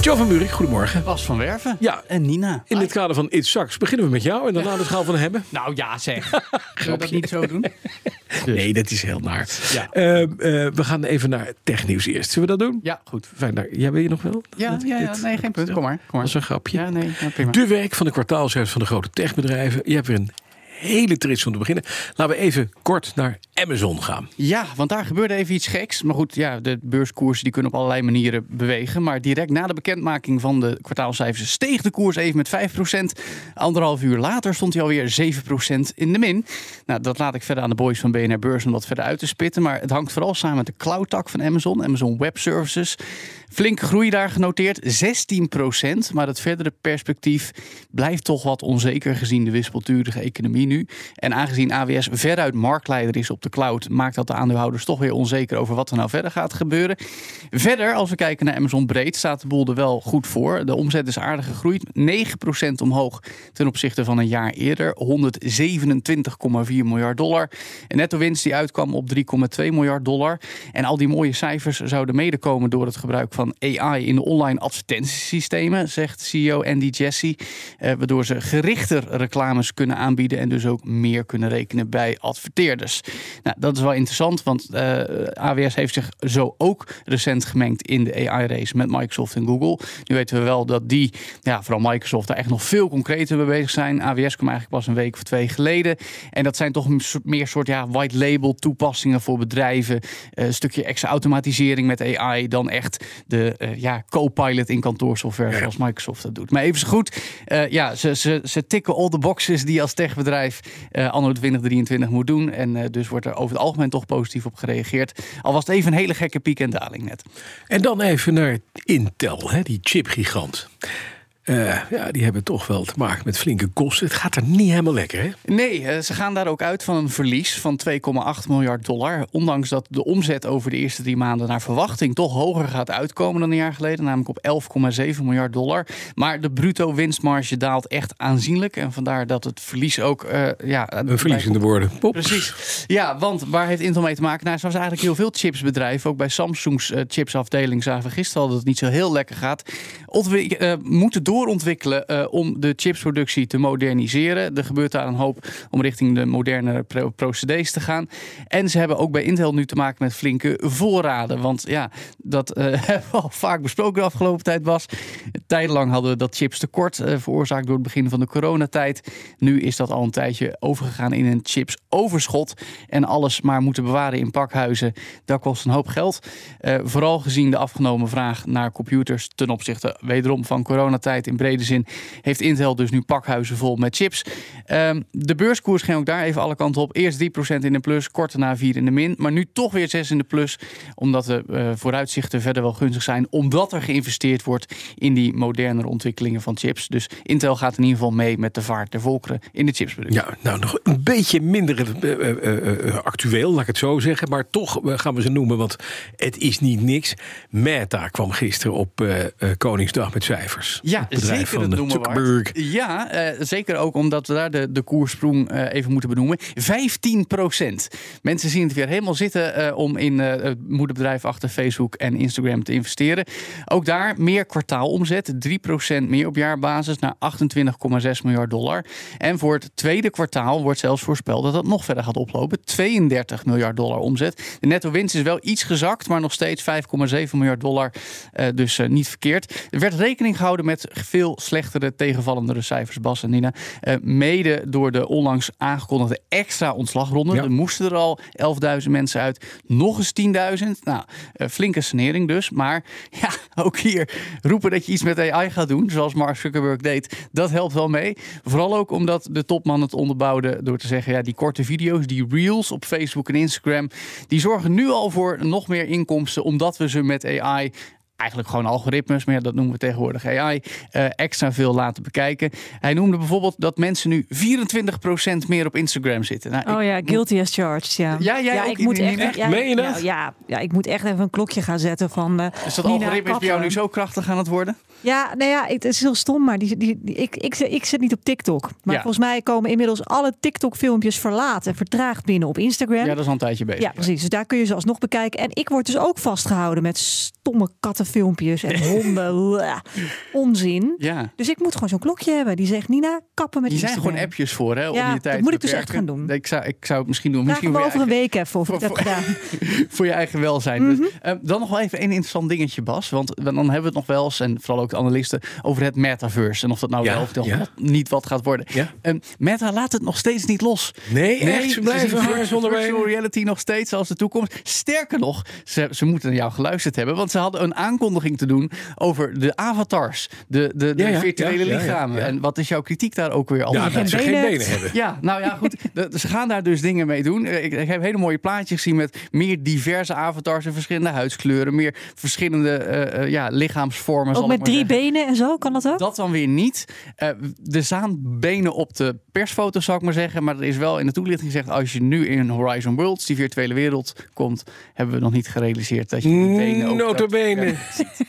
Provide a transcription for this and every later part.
Joe van Buurik, goedemorgen. Bas van Werven. Ja, En Nina. in dit kader van It Sucks beginnen we met jou en daarna de schaal van hebben. Nou ja, zeg. Zullen we dat niet zo doen? Nee, dat is heel naar. Ja. Eh, eh, we gaan even naar technieuws eerst. Zullen we dat doen? Ja, goed. Fijn, nou, jij wil je nog wel? Ja, Dat- ja, ja, dit- nee, geen punt. Kom maar. Kom Dat is maar. een grapje. Ja, nee, ja, prima. De werk van de kwartaalcijfers van de grote techbedrijven. Je hebt weer een hele trits om te beginnen. Laten we even kort naar Amazon gaan. Ja, want daar gebeurde even iets geks. Maar goed, ja, de beurskoersen die kunnen op allerlei manieren bewegen. Maar direct na de bekendmaking van de kwartaalcijfers steeg de koers even met 5%. Anderhalf uur later stond hij alweer 7% in de min. Nou, dat laat ik verder aan de boys van BNR Beurs om dat verder uit te spitten. Maar het hangt vooral samen met de cloudtak van Amazon, Amazon Web Services. Flinke groei daar genoteerd, 16%. Maar het verdere perspectief blijft toch wat onzeker gezien de wispelturige economie nu. En aangezien AWS veruit marktleider is op de cloud, maakt dat de aandeelhouders toch weer onzeker over wat er nou verder gaat gebeuren. Verder, als we kijken naar Amazon breed, staat de boel er wel goed voor. De omzet is aardig gegroeid, 9% omhoog ten opzichte van een jaar eerder, 127,4 miljard dollar. Een netto winst die uitkwam op 3,2 miljard dollar. En al die mooie cijfers zouden mede komen door het gebruik van AI in de online advertentiesystemen, zegt CEO Andy Jassy. Eh, waardoor ze gerichter reclames kunnen aanbieden en dus ook meer kunnen rekenen bij adverteerders. Nou, dat is wel interessant, want eh, AWS heeft zich zo ook recent gemengd in de AI-race met Microsoft en Google. Nu weten we wel dat die, ja, vooral Microsoft, daar echt nog veel concreter mee bezig zijn. AWS kwam eigenlijk pas een week of twee geleden. En dat zijn toch een soort- meer soort ja, white label toepassingen voor bedrijven. Eh, Een stukje extra automatisering met AI dan echt de eh, ja, co-pilot in kantoorsoftware zoals Microsoft dat doet. Maar even zo goed, eh, ja, ze, ze, ze tikken all the boxes die je als techbedrijf eh anno 2023 moet doen. En eh, dus wordt er over het algemeen toch positief op gereageerd. Al was het even een hele gekke piek en daling net. En dan even naar Intel, hè, die chipgigant. Eh, ja, die hebben toch wel te maken met flinke kosten. Het gaat er niet helemaal lekker, hè? Nee, eh, ze gaan daar ook uit van een verlies van 2,8 miljard dollar. Ondanks dat de omzet over de eerste drie maanden naar verwachting toch hoger gaat uitkomen dan een jaar geleden, namelijk op 11,7 miljard dollar. Maar de bruto winstmarge daalt echt aanzienlijk. En vandaar dat het verlies ook. eh, ja, Een verlies in de woorden. Pop. Precies. Ja, want waar heeft Intel mee te maken? Nou, zoals eigenlijk heel veel chipsbedrijven, ook bij Samsung's eh, chipsafdeling zagen we gisteren al dat het niet zo heel lekker gaat. Ontwik- eh, moeten doorontwikkelen eh, om de chipsproductie te moderniseren. Er gebeurt daar een hoop om richting de moderne pro- procedés te gaan. En ze hebben ook bij Intel nu te maken met flinke voorraden. Want ja, dat eh, hebben we al vaak besproken de afgelopen tijd, Bas. Tijdenlang hadden we dat chips tekort, eh, veroorzaakt door het begin van de coronatijd. Nu is dat al een tijdje overgegaan in een chipsoverschot. En alles maar moeten bewaren in pakhuizen, dat kost een hoop geld. Eh, vooral gezien de afgenomen vraag naar computers ten opzichte wederom van coronatijd in brede zin, heeft Intel dus nu pakhuizen vol met chips. Ehm, de beurskoers ging ook daar even alle kanten op. Eerst 3% in de plus, kort daarna 4 in de min. Maar nu toch weer 6 in de plus. Omdat de eh, vooruitzichten verder wel gunstig zijn. Omdat er geïnvesteerd wordt in die modernere ontwikkelingen van chips. Dus Intel gaat in ieder geval mee met de vaart der volkeren in de chipsproductie. Ja, nou nog een beetje minder eh, eh, eh, eh, actueel, laat ik het zo zeggen. Maar toch eh, gaan we ze noemen, want het is niet niks. Meta kwam gisteren op eh, eh, Koningsdag met cijfers. Ja, het bedrijf zeker van het eh, noemen waard. Zuckerberg. Ja, eh, zeker ook omdat we daar de, de koersprong eh, even moeten benoemen. 15 Mensen zien het weer helemaal zitten eh, om in eh het moederbedrijf achter Facebook en Instagram te investeren. Ook daar meer kwartaalomzet, 3 meer op jaarbasis naar 28,6 miljard dollar. En voor het tweede kwartaal wordt zelfs voorspeld dat dat nog verder gaat oplopen. 32 miljard dollar omzet. De netto winst is wel iets gezakt, maar nog steeds 5,7 miljard dollar. Eh, dus eh, niet verkeerd. Er werd rekening gehouden met veel slechtere, tegenvallendere cijfers, Bas en Nina. Eh, mede door de onlangs aangekondigde extra ontslagronde. Ja. Er moesten er al 11.000 mensen uit. Nog eens 10.000. Nou, eh, flinke sanering dus. Maar ja, ook hier roepen dat je iets met AI gaat doen, zoals Mark Zuckerberg deed. Dat helpt wel mee. Vooral ook omdat de topman het onderbouwde door te zeggen: ja, die korte video's, die reels op Facebook en Instagram, die zorgen nu al voor nog meer inkomsten, omdat we ze met AI eigenlijk gewoon algoritmes, maar ja, dat noemen we tegenwoordig AI, eh, extra veel laten bekijken. Hij noemde bijvoorbeeld dat mensen nu 24% meer op Instagram zitten. Nou, Oh ik- ja, guilty as charged. Ja, Ja, jij ja ook, ik moet Irene? echt, Echt? ja, Meen je ja, dat? ja, ja, ik moet echt even een klokje gaan zetten van. eh, Is Dus dat Nina algoritme is bij jou Kaplan. nu zo krachtig aan het worden? Ja, nou ja, het is heel stom, maar die, die, die- ik, ik, ik zit niet op TikTok. Maar Ja. volgens mij komen inmiddels alle TikTok-filmpjes verlaat en vertraagd binnen op Instagram. Ja, dat is al een tijdje bezig. Ja, precies. Dus daar kun je ze alsnog bekijken. En ik word dus ook vastgehouden met stomme kattenfilmpjes en honden. blah, onzin. Ja. Dus ik moet gewoon zo'n klokje hebben die zegt: Nina, kappen met Die zijn Instagram. gewoon appjes voor, hè? Om Ja, je tijd dat moet te ik dus echt beperken. gaan doen. Ik zou, ik zou het misschien doen. Vraag Misschien me voor je, over een eigen, week even of ik dat Voor- heb gedaan. voor je eigen welzijn. Mhm. Dus, eh, dan nog wel even één interessant dingetje, Bas. Want dan hebben we het nog wel eens, en vooral ook de analisten, over het metaverse. En of dat nou Ja, wel of dat ja. wat- niet wat gaat worden. Ja. Eh, Meta laat het nog steeds niet los. Nee, echt? Ze blijven zien hard virtual onderweg. reality nog steeds als de toekomst. Sterker nog, ze, ze moeten naar jou geluisterd hebben. Want ze hadden een aankondiging te doen over de avatars. De, de, de Ja, ja, virtuele ja, ja, ja, lichamen. ja. En wat is jouw kritiek daar ook weer al? Ja, dat ze geen benen. benen hebben. Ja, nou ja, goed. De- Ze gaan daar dus dingen mee doen. Eh, Ik, ik heb hele mooie plaatjes gezien met meer diverse avatars en verschillende huidskleuren. Meer verschillende eh, eh, ja, lichaamsvormen. zal Ook ik met maar drie zeggen. benen en zo, kan dat ook? Dat dan weer niet. Eh er staan benen op de persfoto, zou ik maar zeggen. Maar er is wel in de toelichting gezegd: als je nu in Horizon Worlds, die virtuele wereld, komt, hebben we nog niet gerealiseerd dat je die benen ook. Notabene.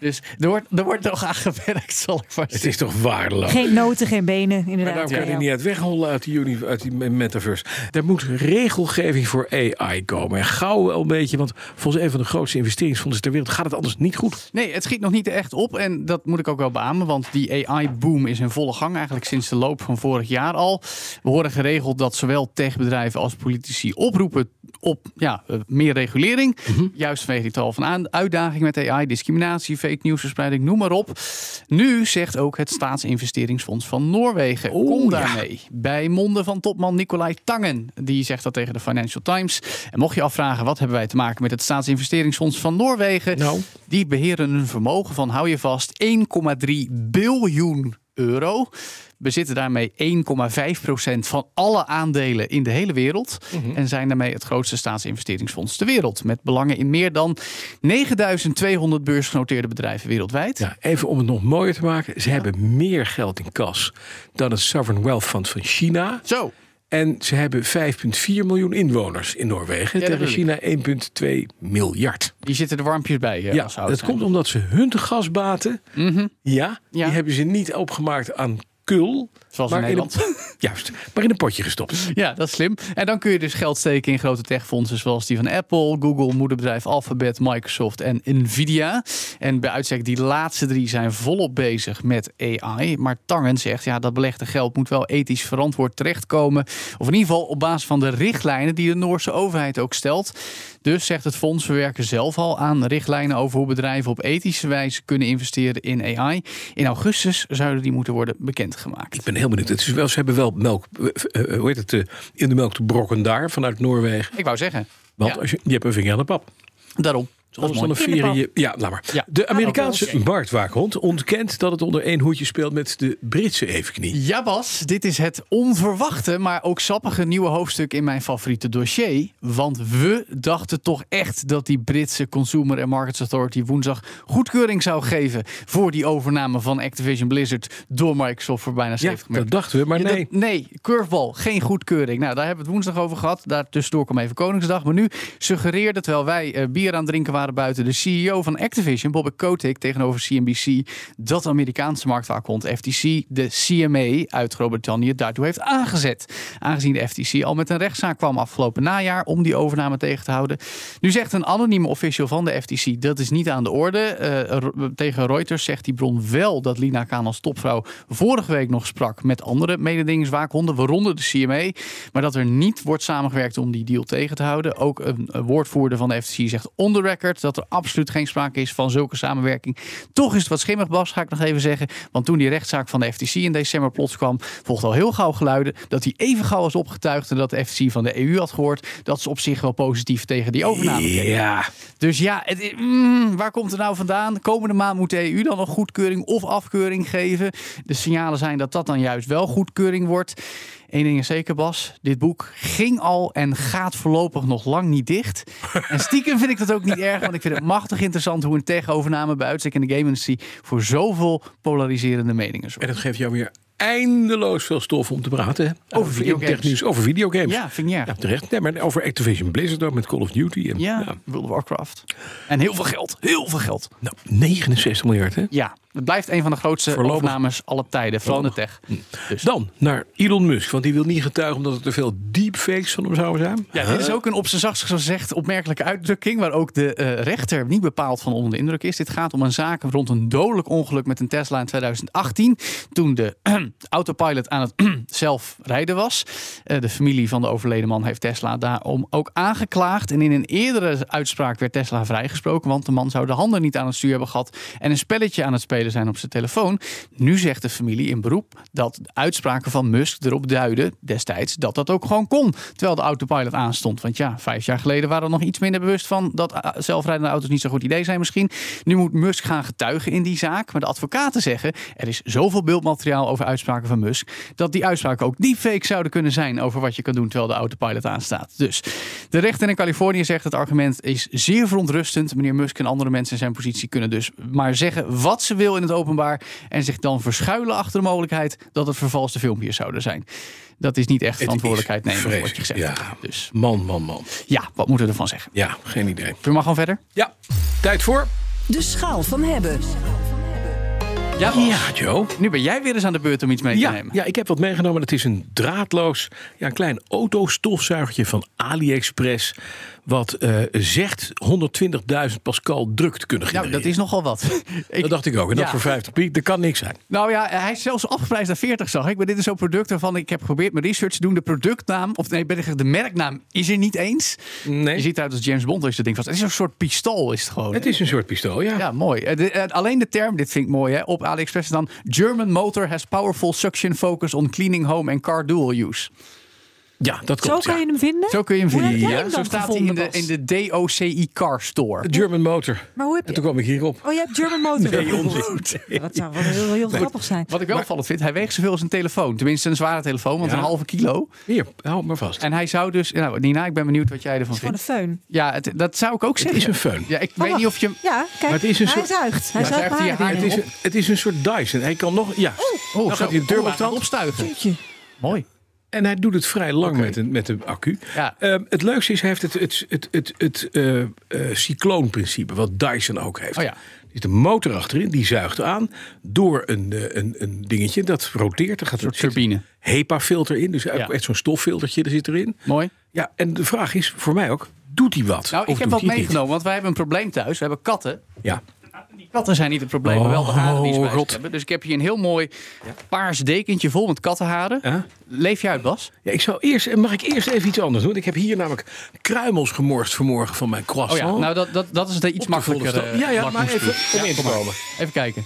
Dus er wordt, er wordt nog aan gewerkt, zal ik vast Het is toch waardeloos. Geen noten, geen benen, Maar inderdaad. daar Ja, kan je ja. niet uit weghollen uit die, uni- uit die metaverse. Er moet regelgeving voor AI komen. En gauw wel een beetje, want volgens een van de grootste investeringsfondsen ter wereld gaat het anders niet goed. Nee, het schiet nog niet echt op. En dat moet ik ook wel beamen. Want die AI-boom is in volle gang. Eigenlijk sinds de loop van vorig jaar al. We horen geregeld dat zowel techbedrijven als politici oproepen op ja, eh, meer regulering. Mhm. Juist vanwege die tal van aan- uitdagingen met AI, discriminatie, fake nieuwsverspreiding, noem maar op. Nu zegt ook het Staatsinvesteringsfonds van Noorwegen. Oeh, Kom Oh, ja. daarmee. Bij monden van topman Nicolai Tangen. Die zegt dat tegen de Financial Times. En mocht je afvragen, wat hebben wij te maken met het Staatsinvesteringsfonds van Noorwegen? Nou. Die beheren een vermogen van, hou je vast, 1,3 biljoen euro. Bezitten daarmee 1,5% van alle aandelen in de hele wereld. Mhm. En zijn daarmee het grootste staatsinvesteringsfonds ter wereld. Met belangen in meer dan 9200 beursgenoteerde bedrijven wereldwijd. Ja, even om het nog mooier te maken. Ze hebben meer geld in kas dan het Sovereign Wealth Fund van China. Zo, En ze hebben 5,4 miljoen inwoners in Noorwegen. Ja, dat tegen China 1,2 miljard. die zitten er warmpjes bij. eh, Ja, als ze oud dat zijn. komt omdat ze hun gasbaten, Mhm. ja, Ja. die hebben ze niet opgemaakt aan kul. Zoals in maar een- Nederland. juist, maar in een potje gestopt. Ja, dat is slim. En dan kun je dus geld steken in grote techfondsen zoals die van Apple, Google, moederbedrijf Alphabet, Microsoft en Nvidia. En bij uitstek die laatste drie zijn volop bezig met AI. Maar Tangen zegt, ja, dat belegde geld moet wel ethisch verantwoord terechtkomen. Of in ieder geval op basis van de richtlijnen die de Noorse overheid ook stelt. Dus zegt het fonds, we werken zelf al aan richtlijnen over hoe bedrijven op ethische wijze kunnen investeren in AI. In augustus zouden die moeten worden bekendgemaakt. Ik ben heel benieuwd. Het is wel, ze hebben wel melk, eh, eh, hoe heet het, eh, in de melk te brokken daar vanuit Noorwegen. Ik wou zeggen. Want Ja. als je, je hebt een vinger aan de pap. Daarom. Dat is Anders dan mooi. een vieren je- Ja, laat maar. Ja. Ah, De Amerikaanse marktwaakhond ontkent dat het onder één hoedje speelt met de Britse evenknie. Ja, Bas, dit is het onverwachte, maar ook sappige nieuwe hoofdstuk in mijn favoriete dossier. Want we dachten toch echt dat die Britse Consumer and Markets Authority woensdag goedkeuring zou geven voor die overname van Activision Blizzard door Microsoft voor bijna Ja, 70 miljard. dat dachten we, maar Ja, nee. dat- nee, curveball, geen goedkeuring. Nou, daar hebben we het woensdag over gehad. Daar tussendoor kwam even Koningsdag. Maar nu suggereerde, terwijl wij eh, bier aan het drinken waren buiten... de CEO van Activision, Bobby Kotick, tegenover CNBC... dat de Amerikaanse marktwaakhond FTC de CMA uit Groot-Brittannië daartoe heeft aangezet. Aangezien de FTC al met een rechtszaak kwam afgelopen najaar... om die overname tegen te houden. Nu zegt een anonieme official van de FTC dat is niet aan de orde. Eh, Ro- tegen Reuters zegt die bron wel dat Lina Kaan als topvrouw vorige week nog sprak met andere mededingingswaakhonden, waaronder de CMA. Maar dat er niet wordt samengewerkt om die deal tegen te houden. Ook een, een woordvoerder van de FTC zegt on the record dat er absoluut geen sprake is van zulke samenwerking. Toch is het wat schimmig, Bas, ga ik nog even zeggen. Want toen die rechtszaak van de FTC in december plots kwam, volgde al heel gauw geluiden dat die even gauw was opgetuigd en dat de FTC van de EU had gehoord dat ze op zich wel positief tegen die overname keek. Ja, Dus ja, het, i- mm, waar komt het nou vandaan? Komende maand moet de EU dan nog goedkeuring of afkeuring geven. De signalen zijn dat dat dan juist wel goedkeuring wordt. Eén ding is zeker, Bas. Dit boek ging al en gaat voorlopig nog lang niet dicht. En stiekem vind ik dat ook niet erg, want ik vind het machtig interessant hoe een tech-overname bij uitstek in de game-industrie voor zoveel polariserende meningen En zorgt. dat geeft jou weer eindeloos veel stof om te praten. hè? Over videogames. technisch, over videogames. Ja, vind ik niet erg. Ja, terecht. Nee, maar over Activision Blizzard ook met Call of Duty. En, Ja, ja. World of Warcraft. En heel veel geld. Heel veel geld. Nou, 69 miljard, hè? Ja, het blijft een van de grootste Voorlopig- opnames alle tijden. Vooral in de tech. Dus. Dan naar Elon Musk, want die wil niet getuigen omdat er te veel deepfakes van hem zouden zijn. Ja, dit is ook een op zijn zachtst gezegd opmerkelijke uitdrukking... waar ook de eh, rechter niet bepaald van onder de indruk is. Dit gaat om een zaak rond een dodelijk ongeluk met een Tesla in 2018... toen de autopilot aan het zelf rijden was. Eh, de familie van de overleden man heeft Tesla daarom ook aangeklaagd. En in een eerdere uitspraak werd Tesla vrijgesproken... want de man zou de handen niet aan het stuur hebben gehad... en een spelletje aan het spelen zijn op zijn telefoon. Nu zegt de familie in beroep dat de uitspraken van Musk erop duiden... destijds dat dat ook gewoon kon, terwijl de autopilot aanstond. Want ja, vijf jaar geleden waren we nog iets minder bewust van... dat eh, zelfrijdende auto's niet zo'n goed idee zijn misschien. Nu moet Musk gaan getuigen in die zaak. Maar de advocaten zeggen, er is zoveel beeldmateriaal over uitspraken van Musk... dat die uitspraken ook deepfake zouden kunnen zijn... over wat je kan doen terwijl de autopilot aanstaat. Dus de rechter in Californië zegt, het argument is zeer verontrustend. Meneer Musk en andere mensen in zijn positie kunnen dus maar zeggen wat ze wil in het openbaar... en zich dan verschuilen achter de mogelijkheid dat het vervalste filmpjes zouden zijn. Dat is niet echt is verantwoordelijkheid nemen voor wat je gezegd vreselijk, hebt. ja. Dus Man, man, man. ja, wat moeten we ervan zeggen? Ja, geen idee. We maar gewoon verder. Ja, tijd voor. De schaal van hebben. Ja, Ja, Joe. Nu ben jij weer eens aan de beurt om iets mee te Ja, nemen. ja, ik heb wat meegenomen. Het is een draadloos, ja, een klein autostofzuigertje van AliExpress. Wat eh, zegt 120.000 pascal druk te kunnen Nou, genereren. dat is nogal wat. Ik- dat dacht ik ook. En Ja. dat voor 50 piek, dat kan niks zijn. Nou ja, hij is zelfs afgeprijsd naar 40, zag ik. Maar dit is zo'n product waarvan ik heb geprobeerd mijn research te doen. De productnaam, of nee, ben ik de merknaam, is er niet eens. Nee. Je ziet eruit als James Bond, als je dat ding vast. Het is een soort pistool, is het gewoon. Het is een soort pistool, ja. Ja, mooi. Eh, de- eh, alleen de term, dit vind ik mooi, hè, op AliExpress dan... German motor has powerful suction focus on cleaning home and car dual use. Ja, dat Zo klopt. kan ja. je hem vinden? Zo kun je hem Hoe heb vinden. jij hem Zo dan staat hij in gevonden, de, Bas? in de DOCI Car Store. German Motor. Maar hoe heb En je... toen kwam ik hierop. Oh, je hebt German Motor. Nee, gegoogeld. onzin. Ja, Dat zou wel heel, heel grappig zijn. Wat ik wel opvallend vind, hij weegt zoveel als een telefoon. Tenminste, een zware telefoon, want Ja. een halve kilo. Hier, hou maar vast. En hij zou dus... Nou, Nina, ik ben benieuwd wat jij ervan Gewoon een vindt. föhn. Ja, het- dat zou ik ook Het zeggen. is een föhn. Ja, ik Oh, weet niet of wacht. je hem... Ja, kijk, het is een hij soort- zuigt. Hij Ja, zuigt zuigt mijn hij haar haar dingen Ah, Het is, op. een, het is een soort Dyson. Hij kan nog... Ja, Oh, dan zo. gaat hij de deur Oh, op hij gaat stand. opstuigen. Jeetje. Mooi. En hij doet het vrij lang met, een, met de accu. Ja. Ehm, het leukste is, hij heeft het, het, het, het, het eh, eh, cycloonprincipe, wat Dyson ook heeft. Oh ja. Er zit een motor achterin, die zuigt aan door een, eh, een, een dingetje. Dat roteert, er gaat een turbine. HEPA-filter in, dus Ja. echt zo'n stoffiltertje er zit erin. Mooi. Ja, en de vraag is voor mij ook, doet hij wat? Nou, Of ik doet heb wat hij het niet? meegenomen, want wij hebben een probleem thuis. We hebben katten. Ja. Die katten zijn niet het probleem, maar wel de haren die ze bij zich Oh, rot. hebben. Dus ik heb hier een heel mooi paars dekentje vol met kattenharen. Huh? Leef je uit, Bas? ja, ik zou eerst, mag ik eerst even iets anders doen? Ik heb hier namelijk kruimels gemorst vanmorgen van mijn Oh croissant. ja, nou dat, dat, dat is het iets Op de volle makkelijker. stap. eh, Ja, ja, maar lakmoesproef. even om in te kom maar. komen. Even kijken.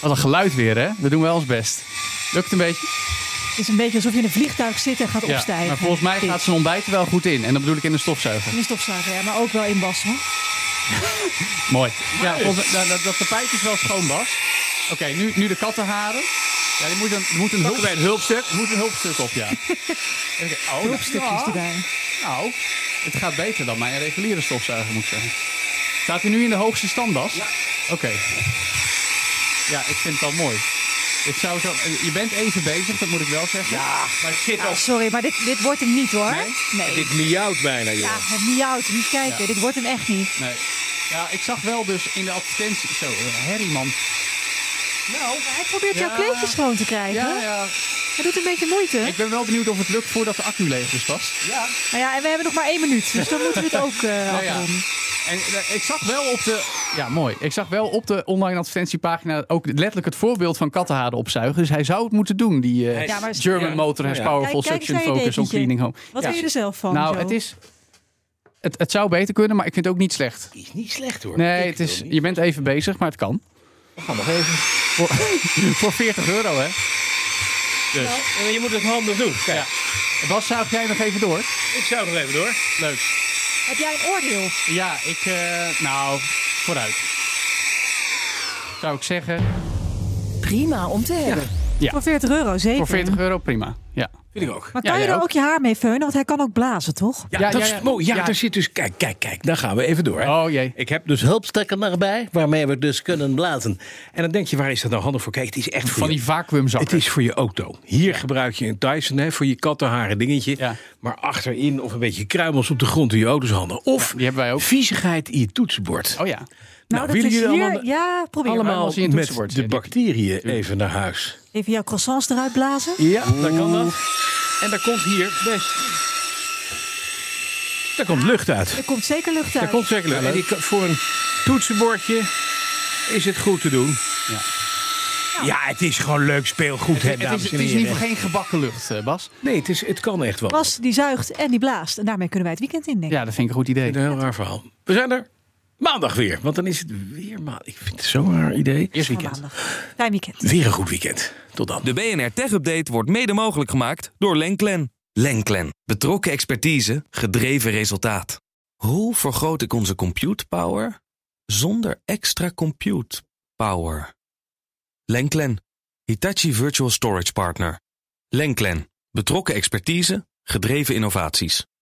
Wat een geluid weer, hè? We doen wel ons best. Lukt een beetje? Het is een beetje alsof je in een vliegtuig zit en gaat opstijgen. maar volgens mij gaat zijn ontbijt er wel goed in. En dat bedoel ik in de stofzuiger. In de stofzuiger, ja, maar ook wel in Bas, hoor. Mooi. Ja, volgens, nou, dat, dat tapijt is wel schoon, Bas. Oké, nu, nu de kattenharen. Ja, die moet een, er moet een hulp, Bij een hulpstuk. er moet een hulpstuk op, ja. Even kijken. Oh, Hulpstukjes nou, erbij. Nou, het gaat beter dan mijn reguliere stofzuiger, moet ik zeggen. Staat hij nu in de hoogste stand, Bas? Ja. Oké. Ja, ik vind het al mooi. Ik zou zo, eh, je bent even bezig, dat moet ik wel zeggen. Ja, maar shit, Ah, sorry, maar dit, dit wordt hem niet, hoor. Nee? Dit miauwt bijna, joh. Ja, het miauwt. Niet kijken. Dit wordt hem echt niet. Nee. Ja, ik zag wel dus in de advertentie... Zo, eh, herrie, man. Nou, Hij probeert jouw Ja. kleedje schoon te krijgen. ja, ja. Hij doet een beetje moeite. Ik ben wel benieuwd of het lukt voordat de accu leeg is, Bas. Ja. Maar ja, en we hebben nog maar één minuut. Dus dan moeten we het ook eh Nou ja. afronden. En eh, ik zag wel op de... Ja, mooi. Ik zag wel op de online advertentiepagina ook letterlijk het voorbeeld van kattenhaden opzuigen. Dus hij zou het moeten doen, die eh, Ja, maar- German Ja. Motor has Ja. powerful Kijk, kijk eens suction naar je focus on dekentje. cleaning home. Wat Ja. vind je er zelf van, Nou, Jo? het is... Het, het zou beter kunnen, maar ik vind het ook niet slecht. Is niet slecht, hoor. Nee, Ik het is, wil niet. je bent even bezig, maar het kan. We gaan nog even. Voor, voor 40 euro, hè? Dus. Nou, Je moet het handig doen. Kijk, Bas, zuig jij nog even door? ik zou nog even door. Leuk. Heb jij een oordeel? Ja, ik. eh, nou, vooruit. Zou ik zeggen. Prima om te hebben. Ja. Voor 40 euro, zeker. Voor 40 euro prima. Ja. Vind ik ook. Maar Ja, kan jij je er ook? Nou, ook je haar mee feunen? Want hij kan ook blazen, toch? Ja, Ja, dat ja, is ja. mooi. Ja, Ja. daar zit dus... Kijk, kijk, kijk. Daar gaan we even door. Hè. Oh jee. Ik heb dus hulpstekken erbij, waarmee we dus kunnen blazen. En dan denk je, waar is dat nou handig voor? Kijk, het is echt voor Van je- die vacuümzakken. Het is voor je auto. Hier gebruik je een Dyson hè, voor je kattenharen dingetje. Ja. Maar achterin of een beetje kruimels op de grond door je auto's handen. Of die hebben wij ook. viezigheid in je toetsenbord. Oh ja. Nou, dat willen is jullie hier... allemaal- ja, probeer maar. allemaal Allemaal als je in het met toetsenbord de zit. bacteriën even naar huis. Even jouw croissants eruit blazen. Ja, dan kan dat. En daar komt hier best... Daar komt lucht uit. Er komt zeker lucht Daar uit. komt zeker lucht. En die, kan- voor een toetsenbordje is het goed te doen. Ja. Ja, het is gewoon leuk speelgoed, hè, Het dames is, en het is in heren. ieder geval geen gebakken lucht, eh, Bas. Nee, het, is, het kan echt wel. Bas, die zuigt en die blaast. En daarmee kunnen wij het weekend in, denk ik. Ja, dat vind ik een goed idee. Een heel raar verhaal. We zijn er maandag weer. Want dan is het weer maandag. Ik vind het zo'n raar idee. Eerst Van weekend. maandag. Fijn weekend. Weer een goed weekend. Tot dan. De BNR Tech Update wordt mede mogelijk gemaakt door Lenklen. Lenklen. Betrokken expertise, gedreven resultaat. Hoe vergroot ik onze compute power zonder extra compute power? Lenklen. Hitachi Virtual Storage Partner. Lenklen. Betrokken expertise, gedreven innovaties.